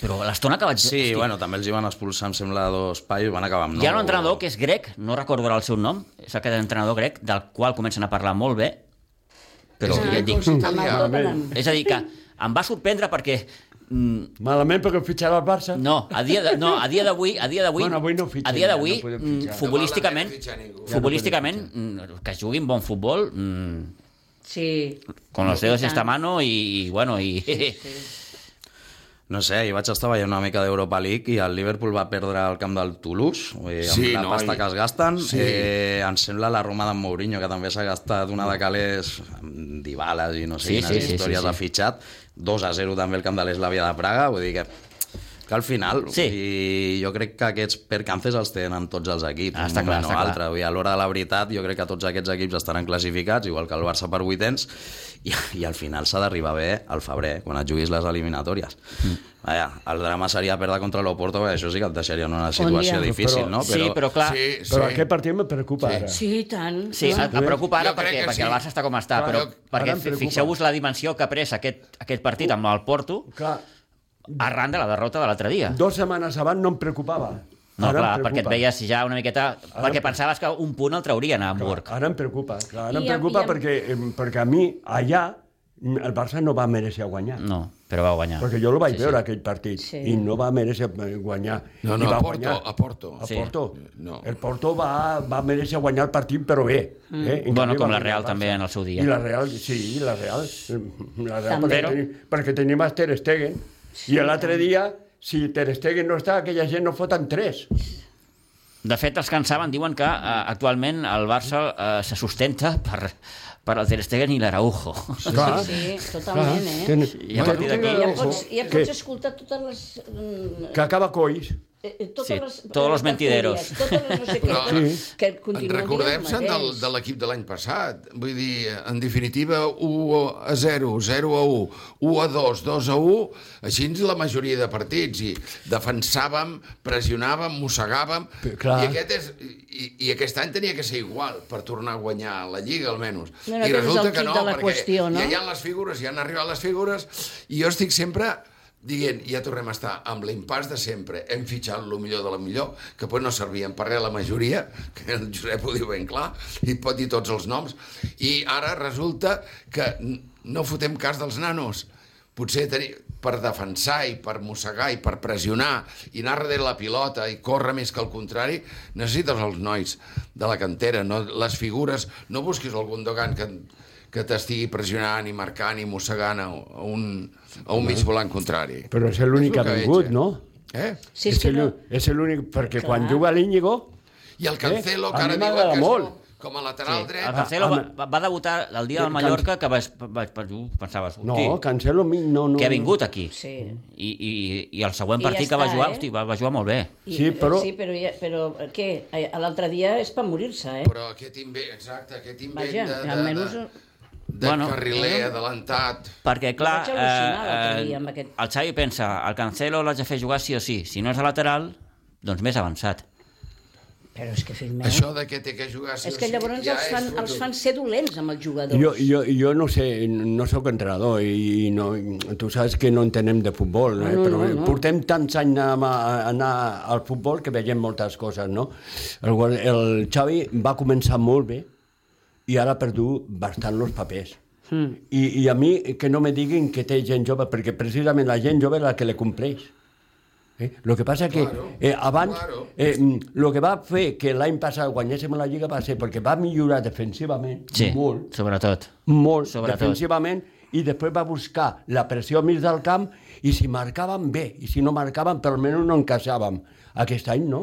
S2: Però l'estona que vaig...
S5: Sí, bueno, també els hi van expulsar, em sembla, dos paios i van acabar amb
S2: Hi ha un entrenador que és grec, no recordo ara el seu nom, és aquest entrenador grec del qual comencen a parlar molt bé, però
S3: És
S2: ja et
S3: grec o
S2: dic,
S3: és
S1: Ah, Amb tota el
S3: italià?
S1: Tottenham.
S2: és a dir, que em va sorprendre perquè mm,
S4: Malament perquè fitxarà el Barça.
S2: no, a dia de, no, a dia d'avui, a dia d'avui,
S4: Bueno, avui no fitxen,
S2: a dia
S4: ja
S2: d'avui,
S4: no podem
S2: mm,
S4: fitxar.
S2: futbolísticament,
S3: No val la pena fitxar ningú.
S2: futbolísticament, mm, que juguin bon futbol, mm,
S1: Sí.
S2: con los dedos esta mano i, i, bueno, i...
S5: No sé, jo vaig estar veient una mica d'Europa League i el Liverpool va perdre el camp del Toulouse, eh, amb
S3: Sí,
S5: la
S3: no,
S5: pasta
S3: i-
S5: que es gasten.
S3: Sí.
S5: Eh, em sembla la Roma d'en Mourinho, que també s'ha gastat una de calés amb Dybala i no sé
S2: Sí,
S5: quines
S2: sí, sí, sí, sí.
S5: històries ha fitxat. 2 a 0 també el camp de l'Eslàvia de Praga, vull dir que que al final,
S2: Sí.
S5: i jo crec que aquests percances els tenen tots els equips,
S2: Ah, està clar,
S5: un moment
S2: està
S5: o
S2: clar.
S5: altre. Vull dir, a l'hora de la veritat, jo crec que tots aquests equips estaran classificats, igual que el Barça per vuitens, i, i al final s'ha d'arribar bé al febrer, quan et juguis les eliminatòries. Mm. Vaja, el drama seria perdre contra l'Oporto, perquè això sí que et deixaria en una
S1: dia.
S5: situació difícil, no?
S2: Sí, però clar,
S3: Sí, sí.
S4: Però aquest partit me preocupa ara.
S1: Sí, i tant.
S2: Sí,
S1: Ah.
S2: em em preocupa ara
S3: Jo crec
S2: perquè,
S3: que
S2: perquè
S3: sí.
S2: el Barça està com està,
S4: Clar,
S2: però
S4: jo-
S2: perquè
S4: ara em
S2: fi-
S4: preocupa.
S2: fixeu-vos la dimensió que ha pres aquest, aquest partit amb el Porto
S4: Clar,
S2: arran de la derrota de l'altre dia.
S4: dues setmanes abans no em preocupava.
S2: No,
S4: Ara em
S2: clar, perquè et
S4: preocupa.
S2: veies ja una miqueta... perquè pensaves que un punt el traurien a Hamburg.
S4: Ara em preocupa, clar,
S1: I
S4: ara em
S1: a-
S4: preocupa
S1: i a-
S4: perquè, em, perquè a mi allà mm, el Barça no va mereixer guanyar. No.
S2: No, però va guanyar.
S4: Perquè jo el vaig sí, veure aquell partit
S1: Sí.
S4: sí. i no va mereixer eh, guanyar.
S3: No, no,
S4: I va
S3: a Porto, a Porto.
S4: A
S2: Sí.
S4: Porto.
S3: No.
S4: El Porto va, va mereixer guanyar el partit, però bé.
S1: Mm.
S4: Eh? En
S2: Bueno,
S4: canvi,
S2: com
S4: va
S2: la Real
S4: guanyar el Barça.
S2: també en el seu dia.
S4: I la Real, sí, i la Real. eh, La Real
S1: També.
S4: perquè,
S2: Però-
S4: tenim, perquè tenim a Ter Stegen. Sí, I l'altre dia, si Ter Stegen no està, aquella gent no foten tres.
S2: De fet, els que en saben diuen que eh, actualment el Barça eh, se sustenta per, per el Ter Stegen i l'Araujo.
S4: Clar.
S1: Sí, totalment, eh?
S4: Ten-
S2: I a partir d'aquí-
S1: Ja pots, ja
S4: que,
S1: pots escoltar totes les... mm,
S4: que acaba coix.
S1: eh, eh, Totes
S2: Sí,
S1: les,
S2: todos los mentideros.
S1: tertúlies, Totes les no sé què,
S3: Però-
S1: totes- que
S3: En
S1: continuen dient el
S3: Recordem-se'n del,
S1: mateix.
S3: de l'equip de l'any passat. Vull dir, en definitiva, 1 a 0, 0 a 1, 1 a 2, 2 a 1, així la majoria de partits. I defensàvem, pressionàvem, mossegàvem...
S4: Però, clar.
S3: I, aquest és, i, I aquest any tenia que ser igual per tornar a guanyar la Lliga, almenys.
S1: No, no,
S3: I
S1: aquest és el quid de la
S3: perquè
S1: qüestió, no?
S3: ja hi ha les figures, ja han arribat les figures, i jo estic sempre dient, ja tornem a estar amb l'impàs de sempre, hem fitxat lo millor de la millor, que pot no servien per res la majoria, que el Josep ho diu ben clar, i pot dir tots els noms, i ara resulta que n- no fotem cas dels nanos. Potser tenir, per defensar i per mossegar i per pressionar i anar darrere la pilota i córrer més que el contrari, necessites els nois de la cantera, no les figures, no busquis el Gundogan que, que t'estigui pressionant i marcant i mossegant a, a un, a un mig volant contrari.
S4: Però és l'únic
S3: És
S4: que
S3: el
S4: ha
S3: que veig,
S4: vingut,
S3: eh?
S4: no?
S3: Eh?
S1: Sí,
S4: és
S1: és que
S4: el-
S1: no...
S4: és l'únic, perquè quan
S1: Clar.
S4: juga l'Íñigo...
S3: I el Cancelo,
S4: Eh?
S3: que
S4: A
S3: ara diuen
S4: mi m'agrada
S3: que és
S4: molt.
S3: bo, com a lateral sí.
S2: El
S3: dret.
S4: Ara,
S2: Cancelo
S4: home.
S2: va, va debutar el dia del
S4: Can-
S2: Mallorca que vas, vas, vas, uh, pensaves,
S4: No,
S2: hosti, no,
S4: Cancelo a mi no... no
S2: que ha vingut aquí.
S1: Sí.
S2: I, i, I el següent
S1: I
S2: partit
S1: ja
S2: que va
S1: està,
S2: jugar,
S1: eh?
S2: hosti, va, va jugar molt bé.
S4: Sí, però-
S1: Sí, però, ja, però què? Eh, L'altre dia és per morir-se, eh?
S3: Però aquest invent, exacte, aquest invent
S1: Vaja,
S3: de, de,
S1: almenys...
S3: de, de
S2: Bueno.
S3: bueno, carriler
S1: Eh?
S3: adelantat.
S2: Perquè, clar, eh,
S1: vaig al·lucinar l'altre dia amb aquest-
S2: el Xavi pensa, el Cancelo l'haig de fer jugar sí o sí. Si no és a lateral, doncs més avançat.
S1: Però és que, fill
S4: Eh?
S1: meu...
S3: Això de que té que jugar... sí
S1: És
S3: o
S1: que
S3: sí,
S1: llavors
S3: ja
S1: els
S3: és
S1: fan,
S3: fotut.
S1: els fan ser dolents amb els jugadors.
S4: Jo, jo, jo no sé, no sóc entrenador i i no, tu saps que no entenem de futbol, eh?
S1: No, no,
S4: però
S1: no, no.
S4: portem tants anys anar, a- anar al futbol que veiem moltes coses, no? El, guar- el Xavi va començar molt bé i ara ha perdut bastant els papers.
S1: Hmm.
S4: Mm. I, I a mi que no me diguin que té gent jove, perquè precisament la gent jove és la que le compleix. Eh? Lo que passa que
S3: Claro,
S4: eh, abans
S3: claro.
S4: eh, mm, lo que va fer que l'any passat guanyéssim la Lliga va ser perquè va millorar defensivament
S2: Sí,
S4: molt
S2: sobretot.
S4: molt
S2: Sobretot.
S4: defensivament i després va buscar la pressió a mig del camp i si marcaven bé i si no marcaven per almenys no encaixàvem. Aquest any no.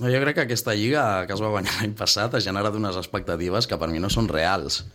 S5: No, Jo crec que aquesta lliga que es va guanyar l'any passat ha generat unes expectatives que per mi no són reals.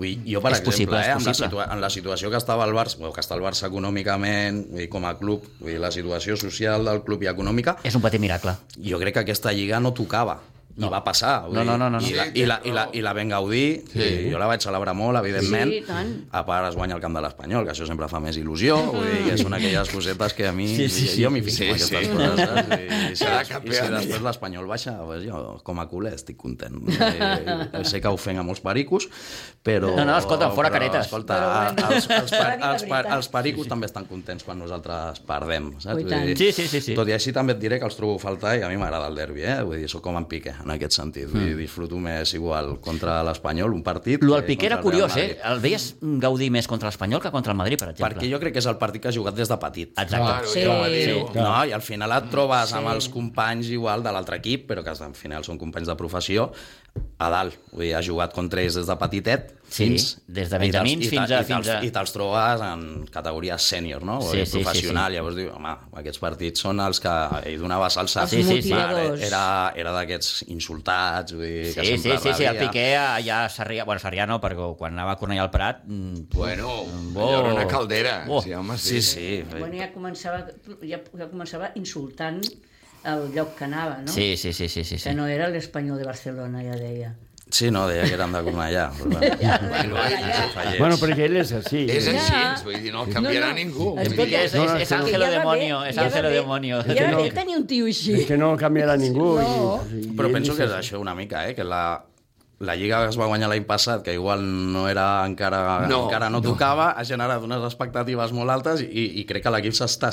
S5: Vull, dir, jo, per
S2: És
S5: exemple,
S2: possible, és
S5: eh, amb, la
S2: possible.
S5: situa- en la situació que estava el Barça, o que està el Barça econòmicament, vull, dir, com a club, vull, dir, la situació social del club i econòmica,
S2: És un petit miracle.
S5: jo crec que aquesta lliga no tocava. No. I va passar. vull
S2: No, no,
S5: dir,
S2: no, no, no.
S5: I, la, i, la, i, la, I la vam gaudir. Sí. I jo la vaig celebrar molt, evidentment.
S1: Sí, i tant.
S5: A part, es guanya el camp de l'Espanyol, que això sempre fa més il·lusió. Vull dir, que són aquelles cosetes que a mi...
S4: Sí, sí, sí.
S5: Jo m'hi fico
S3: Sí,
S5: amb aquestes
S3: sí.
S5: coses. Saps? I, i, si,
S3: Serà
S5: des- i
S3: campió.
S5: si després l'Espanyol baixa, pues, jo, com a culer, estic content. Eh, sé que ofenc a molts pericos, però...
S2: No, no, escolta, fora
S5: però,
S2: caretes.
S5: Escolta,
S1: Però bueno,
S5: els, els,
S1: s'ha de
S5: per,
S1: dir la
S5: els, per,
S1: veritat.
S5: els pericos també estan contents quan nosaltres perdem, saps?
S1: Ui,
S5: Vull
S1: tant.
S5: dir,
S2: Sí, sí, sí, sí.
S5: Tot i així també et diré que els trobo a faltar i a mi m'agrada el derbi, eh? Vull dir, sóc com en Piqué, en aquest sentit. Vull dir, disfruto més igual contra l'Espanyol, un partit...
S2: Mm. Lo
S5: que
S2: del Piqué era
S5: contra el Real
S2: curiós, eh?
S5: Madrid.
S2: El veies gaudir més contra l'Espanyol que contra el Madrid, per exemple.
S5: Perquè jo crec que és el partit que ha jugat des de petit.
S2: Exacte.
S3: Claro,
S1: Sí,
S3: sí, ja va dir-ho.
S1: sí.
S5: No, i al final et trobes amb els companys igual de l'altre equip, però que al final són companys de professió, a dalt. Vull dir, ha jugat contra ells des de petitet,
S2: Sí,
S5: fins...
S2: des de
S5: i te'ls-
S2: benjamins
S5: i te-
S2: fins a-
S5: i te'ls-
S2: fins a-
S5: I te'ls trobes en categoria sènior, no?
S2: Sí,
S5: Sí,
S2: sí, sí,
S5: professional. Llavors diu, home, aquests partits són els que ell donava salsa.
S1: Els Sí, sí, sí. motivadors.
S5: Era, era d'aquests insultats, vull dir, que
S2: Sí, sí,
S5: sempre
S2: sí, sí, el
S5: rebia.
S2: Piqué eh, allà a Sarrià, bueno, Sarrià no, perquè quan anava a Cornellà al Prat... mm,
S3: Bueno,
S2: bo.
S3: allò era una caldera.
S2: Bo.
S3: Sí, home,
S5: Sí,
S3: sí.
S5: sí.
S1: Bueno, ja començava, ja, ja començava insultant el lloc que anava, no?
S2: Sí, sí, sí, sí, sí.
S1: Que
S2: sí.
S1: no era l'Espanyol de Barcelona, ja deia.
S5: Sí, no, deia que eren de Cornellà. Però, bueno,
S3: Bueno, eh,
S5: fallers.
S4: Bueno, perquè ell és així.
S3: és
S4: eh?
S3: així, vull dir, no el canviarà
S1: No, no.
S3: ningú. vull
S2: Escolta, és,
S3: dir.
S4: No,
S2: és,
S4: no,
S2: és
S4: és que no.
S2: Ángelo
S1: Ja va bé,
S2: Demonio, és
S1: ja va
S2: Ángelo
S1: bé.
S2: Demonio.
S1: Ja va bé tenir un tio així.
S4: És que no canviarà ningú.
S1: No.
S4: I, i
S5: Però
S4: ell
S5: penso
S4: és
S5: que és
S4: així.
S5: això una mica, eh? que la, la Lliga que es va guanyar l'any passat, que igual no era encara
S3: No,
S5: no, encara no tocava, ha generat unes expectatives molt altes i, i crec que l'equip s'està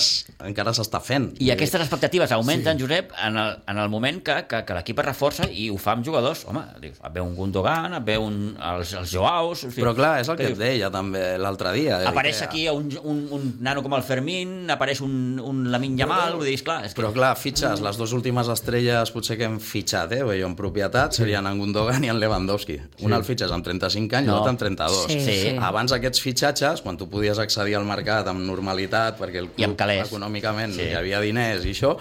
S5: encara s'està fent.
S2: I aquestes expectatives augmenten, sí. Josep, en el, en el moment que, que, que l'equip es reforça i ho fa amb jugadors. Home, dius, et ve un Gundogan, et ve un, els, els Joaus... O sigui,
S5: Però clar, és el que et deia també l'altre dia. eh,
S2: Apareix
S5: que-
S2: aquí un, un, un nano com el Fermín, apareix un, un Lamin Yamal, vull dir, esclar, és que...
S5: Però clar, fitxes, les dues últimes estrelles potser que hem fitxat, eh, jo, en propietat, serien en Gundogan i en Lewandowski. Sí. Un el fitxes amb 35 anys i l'altre amb 32.
S1: Sí,
S2: sí.
S5: Abans aquests fitxatges, quan tu podies accedir al mercat amb normalitat, perquè el
S2: I amb
S5: club
S2: calés.
S5: econòmicament
S2: Sí.
S5: sí. hi havia diners i això,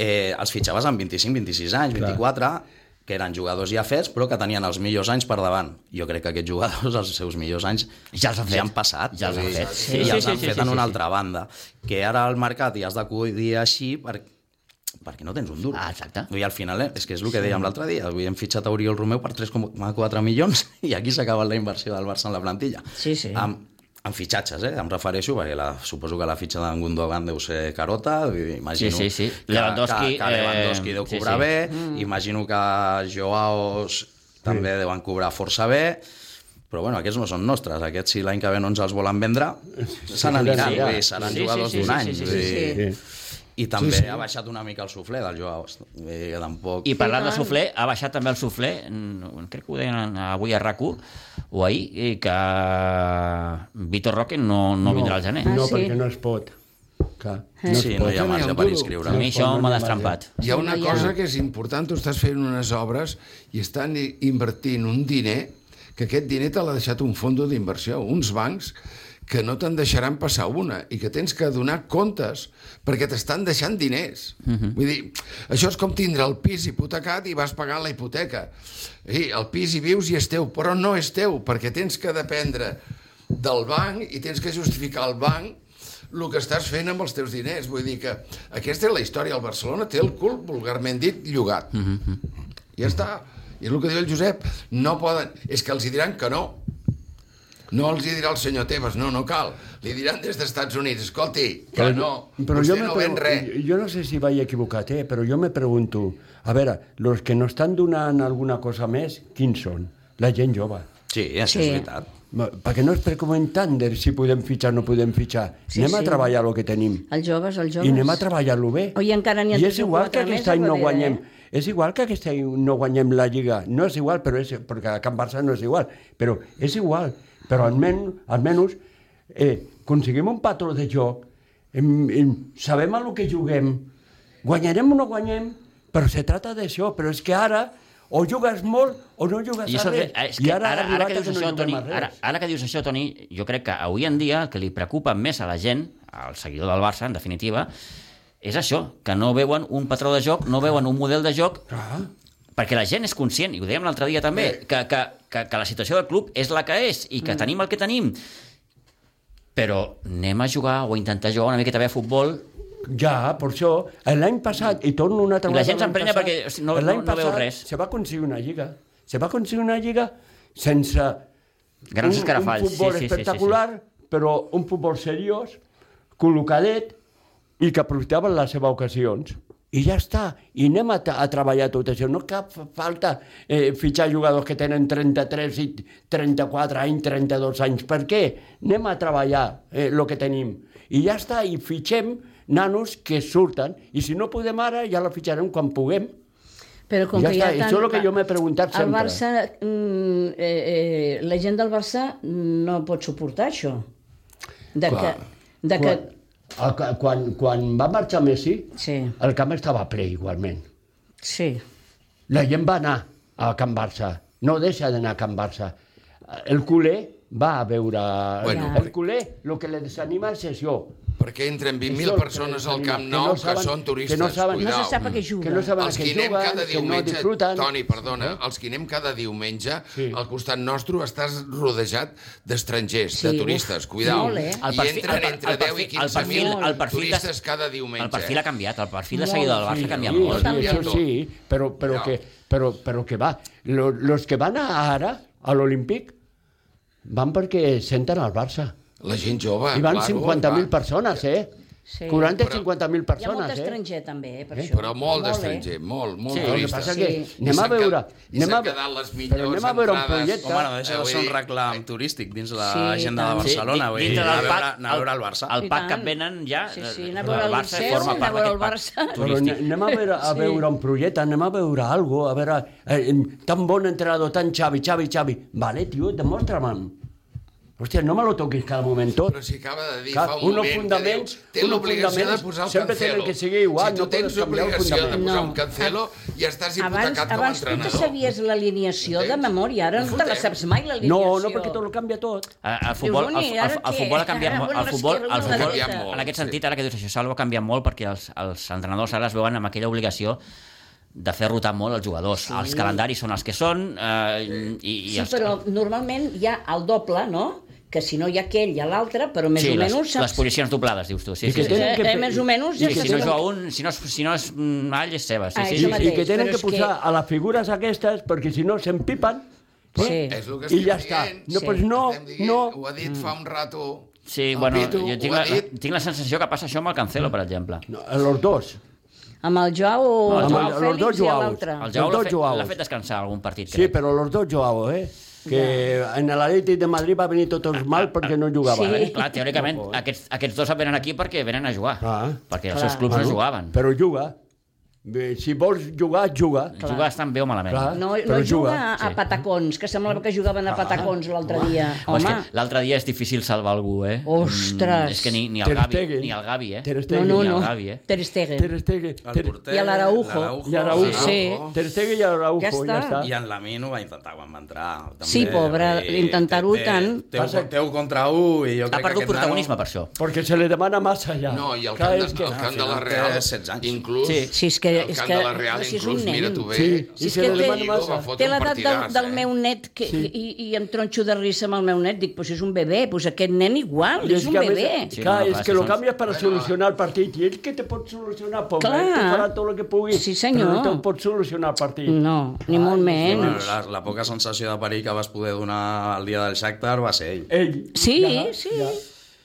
S5: eh, els fitxaves amb 25, 26 anys, 24, que eren jugadors ja fets, però que tenien els millors anys per davant. Jo crec que aquests jugadors, els seus millors anys,
S2: Ja els han fet.
S5: Ja han passat.
S2: Ja els han
S5: Vull dir,
S2: fet. Sí,
S5: I
S2: sí,
S5: els
S2: sí,
S5: han
S2: sí,
S5: fet
S2: sí,
S5: en
S2: sí,
S5: una
S2: sí.
S5: altra banda. Que ara al mercat hi has d'acudir així perquè perquè no tens un duro.
S2: Ah, exacte.
S5: Vull dir, al final, eh, és que és el que dèiem l'altre dia. Avui hem fitxat a Oriol Romeu per 3,4 milions i aquí s'ha acabat la inversió del Barça en la plantilla.
S1: Sí, sí.
S5: Amb, amb fitxatges, eh? Em refereixo, perquè la, suposo que la fitxa d'en Gundogan deu ser carota, vull dir, imagino
S2: Sí, sí, sí.
S5: Que,
S2: Lewandowski,
S5: que, que Lewandowski
S2: eh,
S5: deu
S2: sí,
S5: cobrar
S2: sí.
S5: bé, mm. imagino que Joaos també deuen cobrar força bé, però bueno, aquests no són nostres, aquests si l'any que ve no ens els volen vendre, se n'aniran,
S4: sí,
S5: sí,
S4: ja.
S5: sí, seran
S2: Sí,
S5: sí,
S2: sí,
S5: jugadors
S2: sí,
S5: d'un
S2: sí,
S5: any.
S2: sí, sí,
S5: vull
S1: sí,
S5: dir,
S1: sí.
S5: i també sí, sí. ha baixat una mica el suflé del Joao. Eh, tampoc...
S2: I parlant de
S1: tant.
S2: suflé, ha baixat també el suflé, mm, crec que ho deien avui a rac o ahir, i que Vitor Roque no, no, vindrà al gener.
S4: No,
S1: Ah, sí?
S4: perquè no es pot. Clar, no
S5: Eh. sí, no hi ha
S3: Ni
S5: marge
S3: el
S5: per
S3: duro.
S2: A
S5: inscriure.
S2: mi això m'ha destrampat.
S3: Hi ha una
S1: No hi ha.
S3: cosa que és important, tu estàs fent unes obres i estan i- invertint un diner que aquest diner te l'ha deixat un fondo d'inversió, uns bancs que no te'n deixaran passar una i que tens que donar comptes perquè t'estan deixant diners. Uh
S1: Mhm.
S3: -huh. Vull dir, això és com tindre el pis hipotecat i vas pagant la hipoteca. I el pis hi vius i és teu, però no és teu, perquè tens que dependre del banc i tens que justificar al banc el que estàs fent amb els teus diners. Vull dir que aquesta és la història. El Barcelona té el cul, vulgarment dit, llogat. Mm -hmm. Ja està. I és el que diu el Josep. No poden... És que els hi diran que no. No els hi dirà el senyor Tebas, no, no cal. Li diran des dels Estats Units, escolti, que però, no, però vostè
S4: me
S3: no ven
S4: pregu-
S3: res.
S4: Yo no sé si vaig equivocat, eh? però jo me pregunto, a veure, los que no estan donant alguna cosa més, quins són? La gent jove.
S5: Sí, això
S1: Sí.
S5: és veritat.
S4: Ma- Perquè no es preocupen tant de si podem fitxar o no podem fitxar.
S1: Sí,
S4: Sí, anem
S1: sí.
S4: a treballar el que tenim.
S1: Els joves, els joves...
S4: I anem a treballar-lo bé.
S1: Oi, encara n'hi ha
S4: I és
S1: tres o
S4: igual que
S1: quatre
S4: aquest
S1: més,
S4: any no
S1: Rodríguez,
S4: guanyem.
S1: eh?
S4: És igual que aquest any no guanyem la Lliga. No és igual, però és, perquè a Can Barça no és igual. Però és igual. Però almenys, almenys eh, aconseguim un patró de joc, em, em, sabem a lo que juguem, guanyarem o no guanyem, però se trata d'això. Però és que ara o jugues molt o no jugues
S2: I,
S4: a
S2: això,
S4: res.
S2: és que ara, ara,
S4: arribat
S2: que
S4: a
S2: dius
S4: no
S2: això,
S4: juguem
S2: Toni,
S4: a res.
S2: ara, ara que dius això, Toni, jo crec que avui en dia el que li preocupa més a la gent, al seguidor del Barça, en definitiva, és això, que no veuen un patró de joc, no veuen un model de joc,
S4: Clar.
S2: perquè la gent és conscient, i ho dèiem l'altre dia també, que, que, que, que la situació del club és la que és i que mm. tenim el que tenim. Però anem a jugar o a intentar jugar una miqueta bé a futbol
S4: Ja, per això, l'any passat, i torno una altra
S2: I la gent s'emprenya
S4: l'any
S2: perquè, hosti, no- no-
S4: l'any
S2: no veu
S4: passat
S2: res.
S4: Se va aconseguir una lliga. Se va aconseguir una lliga sense
S2: Grans
S4: un, un
S2: escarafalls, sí,
S4: futbol
S2: sí, sí, sí, sí.
S4: espectacular, sí, sí, sí. però un futbol seriós, col·locadet, i que aprofitaven les seves ocasions. I ja està. I anem a, tra- a treballar tot això. No cap falta eh, fitxar jugadors que tenen 33 i 34 anys, 32 anys. Per què? Anem a treballar el eh, lo que tenim. I ja està. I fitxem nanos que surten. I si no podem ara, ja la fitxarem quan puguem.
S1: Però com
S4: Ja
S1: que hi ha
S4: està,
S1: tant...
S4: això és el que jo m'he preguntat
S1: El
S4: sempre.
S1: Barça, mm, eh, eh, la gent del Barça no pot suportar això. De
S3: Clar.
S1: que... De que
S4: Quan, a- ca- quan, quan va marxar Messi,
S1: Sí,
S4: el camp estava ple igualment.
S1: sí.
S4: La gent va anar a Can Barça. No deixa d'anar a Can Barça. El culer va a veure...
S3: Bueno,
S4: el culer, el que le desanima és això.
S3: Perquè entren
S4: Això
S3: 20.000
S4: és
S3: persones
S4: que
S3: al
S4: no
S3: Camp
S4: saben-
S3: Nou que,
S4: que no
S3: són
S4: saben-
S3: turistes.
S4: que no saben-
S1: No se
S3: cuidao.
S1: sap a què
S4: Que no
S1: juga.
S4: saben
S3: els
S4: a
S3: que
S4: què
S3: anem
S4: juguen,
S3: cada
S4: que no
S3: diumenge,
S4: disfruten.
S3: Toni, perdona, els que anem cada diumenge, sí.
S4: Sí.
S3: al costat nostre estàs rodejat d'estrangers,
S1: Sí,
S3: de
S1: uf,
S3: turistes, cuidao.
S1: molt, eh?
S2: El perfil-
S3: I entren
S2: el per-
S3: entre
S2: el
S3: 10 i
S2: perfil- el perfil-
S3: 15.000
S2: el perfil de-
S3: turistes cada diumenge.
S2: El perfil ha canviat, el perfil de
S1: Molt,
S2: seguidor del Barça
S1: sí,
S2: ha canviat
S4: sí,
S2: molt.
S4: Sí,
S3: canviat
S4: això
S3: molt.
S4: sí, però, però,
S3: Ja.
S4: que, però, però que va. Lo- Los que van a- ara a l'Olímpic van perquè senten al Barça.
S3: La gent jove,
S4: I van
S3: claro,
S4: 50.000
S3: va.
S4: persones, eh?
S1: Sí.
S4: 40
S3: Però-
S4: 50.000
S1: Hi ha molt
S4: persones, eh?
S1: estranger, també, eh, per això.
S3: Però molt
S1: eh?
S3: d'estranger, molt, molt
S2: Sí,
S3: sí,
S2: el que
S4: El que
S3: turistes.
S4: passa
S1: Sí.
S4: que anem a
S3: I s'han
S4: veure...
S3: quedat- I
S4: Anem
S3: s'han
S4: a,
S3: quedat les
S4: però
S3: millors
S4: anem a veure un
S3: entrades.
S4: projecte...
S5: Home, no deixa
S3: Eh,
S5: de
S3: vull
S5: ser un
S3: dir-
S5: reclam turístic dins la
S1: Sí,
S5: sí, agenda
S1: tant.
S5: de Barcelona. Sí,
S2: dintre
S5: anar, a
S2: del
S5: veure,
S2: pac,
S5: anar a veure el Barça.
S2: El
S1: I
S2: pack que
S1: tant.
S2: et venen ja... eh,
S1: Sí, sí, anar a
S2: el
S1: veure el
S2: Barça
S1: Liceu,
S2: forma
S1: anar a
S2: part
S1: veure el
S2: d'aquest pack
S1: Barça.
S4: Però ane-
S2: turístic.
S4: anem a veure, a
S1: Sí.
S4: veure un projecte, anem a veure algo, a veure, eh, tan bon entrenador, tan Xavi, Xavi, Xavi. Vale, tio, demostra-me'm. Hòstia, no me lo toquis cada moment tot.
S3: Però si acaba de dir
S4: Clar,
S3: fa un
S4: unos
S3: moment que diu,
S4: fundaments-
S3: té
S4: unos
S3: l'obligació de
S4: fundaments
S3: posar el
S4: sempre
S3: cancelo.
S4: tenen que seguir igual,
S3: si tu
S4: no
S3: tens
S4: pots canviar el
S3: l'obligació de
S4: fundament.
S3: posar
S1: No.
S3: un cancelo i
S1: Abans,
S3: estàs hipotecat com a
S1: abans tu te
S3: entrenador.
S1: sabies l'alineació de
S3: Entens?
S1: memòria, ara no te la
S3: Fotem.
S1: saps mai l'alineació.
S4: No, no, perquè tot ho canvia tot.
S2: Eh, El futbol, el,
S1: Dius, "Uni,
S2: el,
S1: ara
S2: el, el
S1: què?"
S2: futbol ha canviat molt.
S1: Bueno,
S2: El
S1: és que
S2: futbol,
S1: era
S2: el
S1: una
S2: futbol
S3: Ha canviat molt,
S2: en aquest
S3: sí.
S2: sentit, ara que dius això, Salvo, ha canviat molt perquè els, els entrenadors ara es veuen amb aquella obligació de fer rotar molt els jugadors. Sí. Els calendaris són els que són eh, i, i
S1: Sí,
S2: els,
S1: però normalment hi ha el doble, no? Que si no hi ha aquell, hi ha l'altre, però més
S2: sí,
S1: o
S2: les,
S1: menys
S2: les posicions doblades, dius tu. Sí,
S4: I
S2: sí,
S4: que
S2: sí.
S4: tenen
S1: Eh,
S4: que
S1: eh,
S4: fer-
S1: més o menys
S2: Sí,
S1: ja
S2: que
S1: saps
S2: si no
S1: com-
S2: juga un, si no, és- si no és mm, all, és seva. Sí,
S1: Ah,
S2: sí,
S1: això
S2: sí,
S4: I
S1: mateix.
S2: sí.
S4: que tenen
S1: però
S4: que
S1: és
S4: posar
S1: que-
S4: a les figures aquestes, perquè si no s'empipen, eh?
S1: Sí.
S3: És el que
S4: i
S3: estic
S4: ja està.
S3: dient.
S4: No,
S1: Sí.
S4: pues no,
S3: Estem dient,
S4: no.
S3: Ho ha dit fa un rato.
S2: Sí,
S3: el
S2: bueno,
S3: Pitu,
S2: jo tinc
S3: ho ha
S2: la,
S3: dit.
S2: tinc la sensació que passa això amb el Cancelo, per exemple.
S4: no los dos.
S1: Amb el Joao o
S2: No,
S1: amb el
S2: amb el-
S4: els dos
S1: Fèlix i
S4: Joaos.
S1: l'altre.
S2: El
S4: Els
S2: Joao l'ha
S4: dos
S2: fet,
S4: Joaos.
S2: l'ha fet descansar algun partit,
S4: Sí,
S2: crec.
S4: però los dos Joao, eh? Que en l'Atlètic de Madrid va venir tots mal perquè no jugava.
S1: Sí.
S4: eh?
S2: Clar, teòricament, aquests, aquests dos venen aquí perquè venen a jugar.
S4: Ah.
S2: perquè els
S1: Clar.
S2: seus clubs no jugaven.
S4: Però juga. Bé, si vols jugar, juga.
S1: Clar.
S2: Jugar tan bé o malament.
S4: Clar.
S1: No,
S4: Però
S1: no juga
S4: juga,
S1: a patacons, que semblava que jugaven a patacons l'altre dia.
S2: Home, és
S1: Home,
S2: que L'altre dia és difícil salvar algú, eh?
S1: Ostres.
S2: Mm, és que ni, ni, el
S4: Ter
S2: Gavi,
S4: Stegen.
S2: ni el Gavi, eh?
S4: Ter
S1: no,
S4: Stegen.
S1: no,
S2: ni el
S1: no.
S2: Gavi, eh?
S1: Ter Stegen.
S4: Ter Stegen.
S5: El
S4: Ter,
S5: porter,
S1: I a l'Araujo.
S4: I Araujo.
S3: Ah,
S1: Sí.
S4: Ter Stegen i Araujo,
S1: Ja
S4: ja
S1: està.
S4: està.
S5: I en Lamine ho va intentar quan va entrar. També,
S1: Sí, pobre,
S5: vull dir,
S1: intentar-ho
S5: té-
S1: tant.
S5: Té, té, té un contra un i jo
S2: Ha
S5: crec que
S2: perdut
S5: aquest
S2: protagonisme per això.
S4: Perquè se li demana massa allà.
S3: No, i el
S4: Clar,
S3: camp, de,
S4: és que-
S3: el camp de la
S5: Al final
S3: Real,
S5: té 16 anys.
S3: inclús,
S2: Sí.
S1: Sí, és que-
S3: el
S1: és
S3: camp
S1: que-
S3: de la Real,
S1: no, si és
S3: inclús,
S1: un nen.
S3: mira tu bé,
S4: Sí, i
S1: Si és
S4: se
S1: que
S4: li
S1: té-
S4: demana massa.
S3: Va fotre
S1: Té
S3: un
S1: l'edat del,
S3: partidàs,
S1: del
S3: eh?
S1: meu net que, sí. i, i em tronxo de risa amb el meu net. Dic, pues és un bebè, pues aquest nen igual,
S4: I
S1: és, un
S4: que a
S1: bebè.
S4: Més,
S2: Sí,
S4: clar,
S2: no, no,
S4: és
S2: clar,
S4: que
S2: si
S4: lo
S2: són-
S4: canvies per solucionar el partit i ell que te pot solucionar, pobre,
S1: Clar.
S4: tu farà tot el que pugui,
S1: Sí, senyor.
S4: però no te'n pot solucionar el partit.
S1: No, ni molt
S5: Bueno,
S1: menys.
S5: La, la poca sensació de perill que vas poder donar el dia del Shakhtar va ser ell.
S4: Ell.
S1: Sí, sí.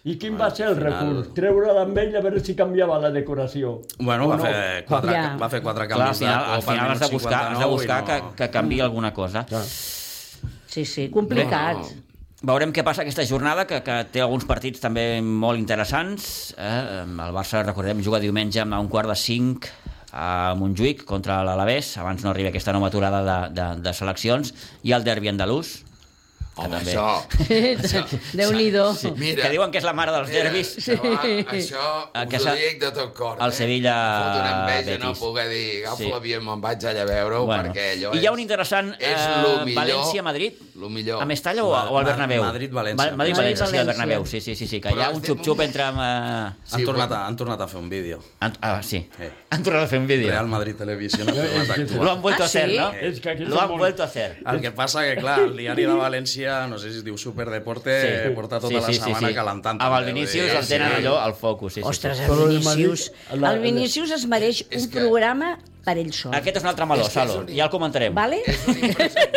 S4: I quin va ser el
S5: final-
S4: recurs? Treure amb ell a veure si canviava la decoració.
S5: Bueno, va,
S4: no.
S5: fer quatre,
S1: Ja.
S5: va fer quatre
S2: Clar, al
S5: canvis
S2: final, al
S5: de cop
S2: final has de buscar, has de buscar que, que canvi alguna cosa.
S1: Sí, sí, complicat.
S3: No, no.
S2: Veurem què passa aquesta jornada, que, que té alguns partits també molt interessants. Eh? El Barça, recordem, juga diumenge a un quart de cinc a Montjuïc contra l'Alavés, abans no arribi aquesta nova aturada de, de, de seleccions, i el derbi andalús,
S3: Home,
S2: Ah, també.
S3: això...
S1: Déu-n'hi-do.
S2: sí,
S3: Mira.
S2: que diuen que és la mare dels derbis.
S3: Sí. Això
S2: Eh, El que
S3: us
S2: s'ha-
S3: ho dic de tot cor.
S2: el
S3: eh?
S2: Sevilla
S3: Fot una enveja
S2: Betis.
S3: no poder dir agafo
S2: Sí.
S3: sí. l'avió i me'n vaig allà a veure-ho bueno. perquè allò
S2: I hi ha un interessant eh,
S3: és, és lo millor,
S2: València-Madrid,
S3: Lo millor.
S2: a Mestalla o,
S5: Ma-
S2: o al Bernabéu?
S5: Ma- Madrid-València.
S2: Ma- Madrid-València, sí, al
S1: Madrid-València.
S2: Bernabéu, sí, sí, sí, sí que
S3: Però
S2: hi ha un
S3: estem-
S2: xup-xup entre... Eh,
S5: Han,
S3: Sí,
S5: tornat a, han tornat a fer un vídeo.
S2: han, ah, sí,
S5: Eh.
S2: han tornat a fer un vídeo.
S5: Real Madrid Televisió no ha fet les
S2: Lo han
S5: actuals.
S2: vuelto
S1: Ah,
S2: a hacer,
S1: sí?
S2: ¿no?
S4: Es que aquí
S2: Lo
S4: son
S2: han
S4: molt-
S2: vuelto a hacer.
S5: El que passa que, clar, el diari de València, no sé si es diu Superdeporte, sí. porta tota la setmana
S2: Amb
S5: calentant.
S2: el
S5: també, vull
S2: Vinícius
S5: dir,
S2: Ah,
S5: eh?
S2: el tenen allò al focus. Sí, sí,
S1: Ostres, eh,
S2: Sí.
S1: el
S4: Però el
S1: Vinícius...
S4: Madrid- la-
S1: El Vinícius es mereix un
S3: que-
S1: programa per ell sol.
S2: Aquest és un altre meló,
S3: És que és
S2: Salo.
S3: un-
S2: Ja el comentarem.
S1: Vale?
S3: És un, impresen-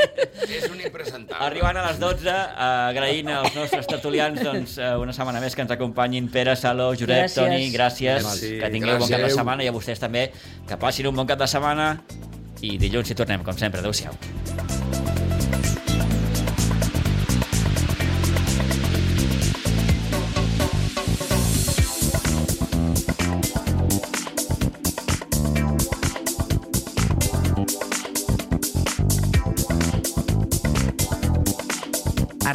S3: és un impresentable.
S2: Arribant a les 12, eh, agraint als nostres tertulians doncs, eh, una setmana més que ens acompanyin Pere, Saló, Josep,
S1: Gràcies.
S2: Toni, gràcies.
S5: Merci,
S2: que tingueu bon cap de
S3: gràcies.
S2: setmana i a vostès també que passin un bon cap de setmana i dilluns hi tornem, com sempre. Adéu-siau.
S6: A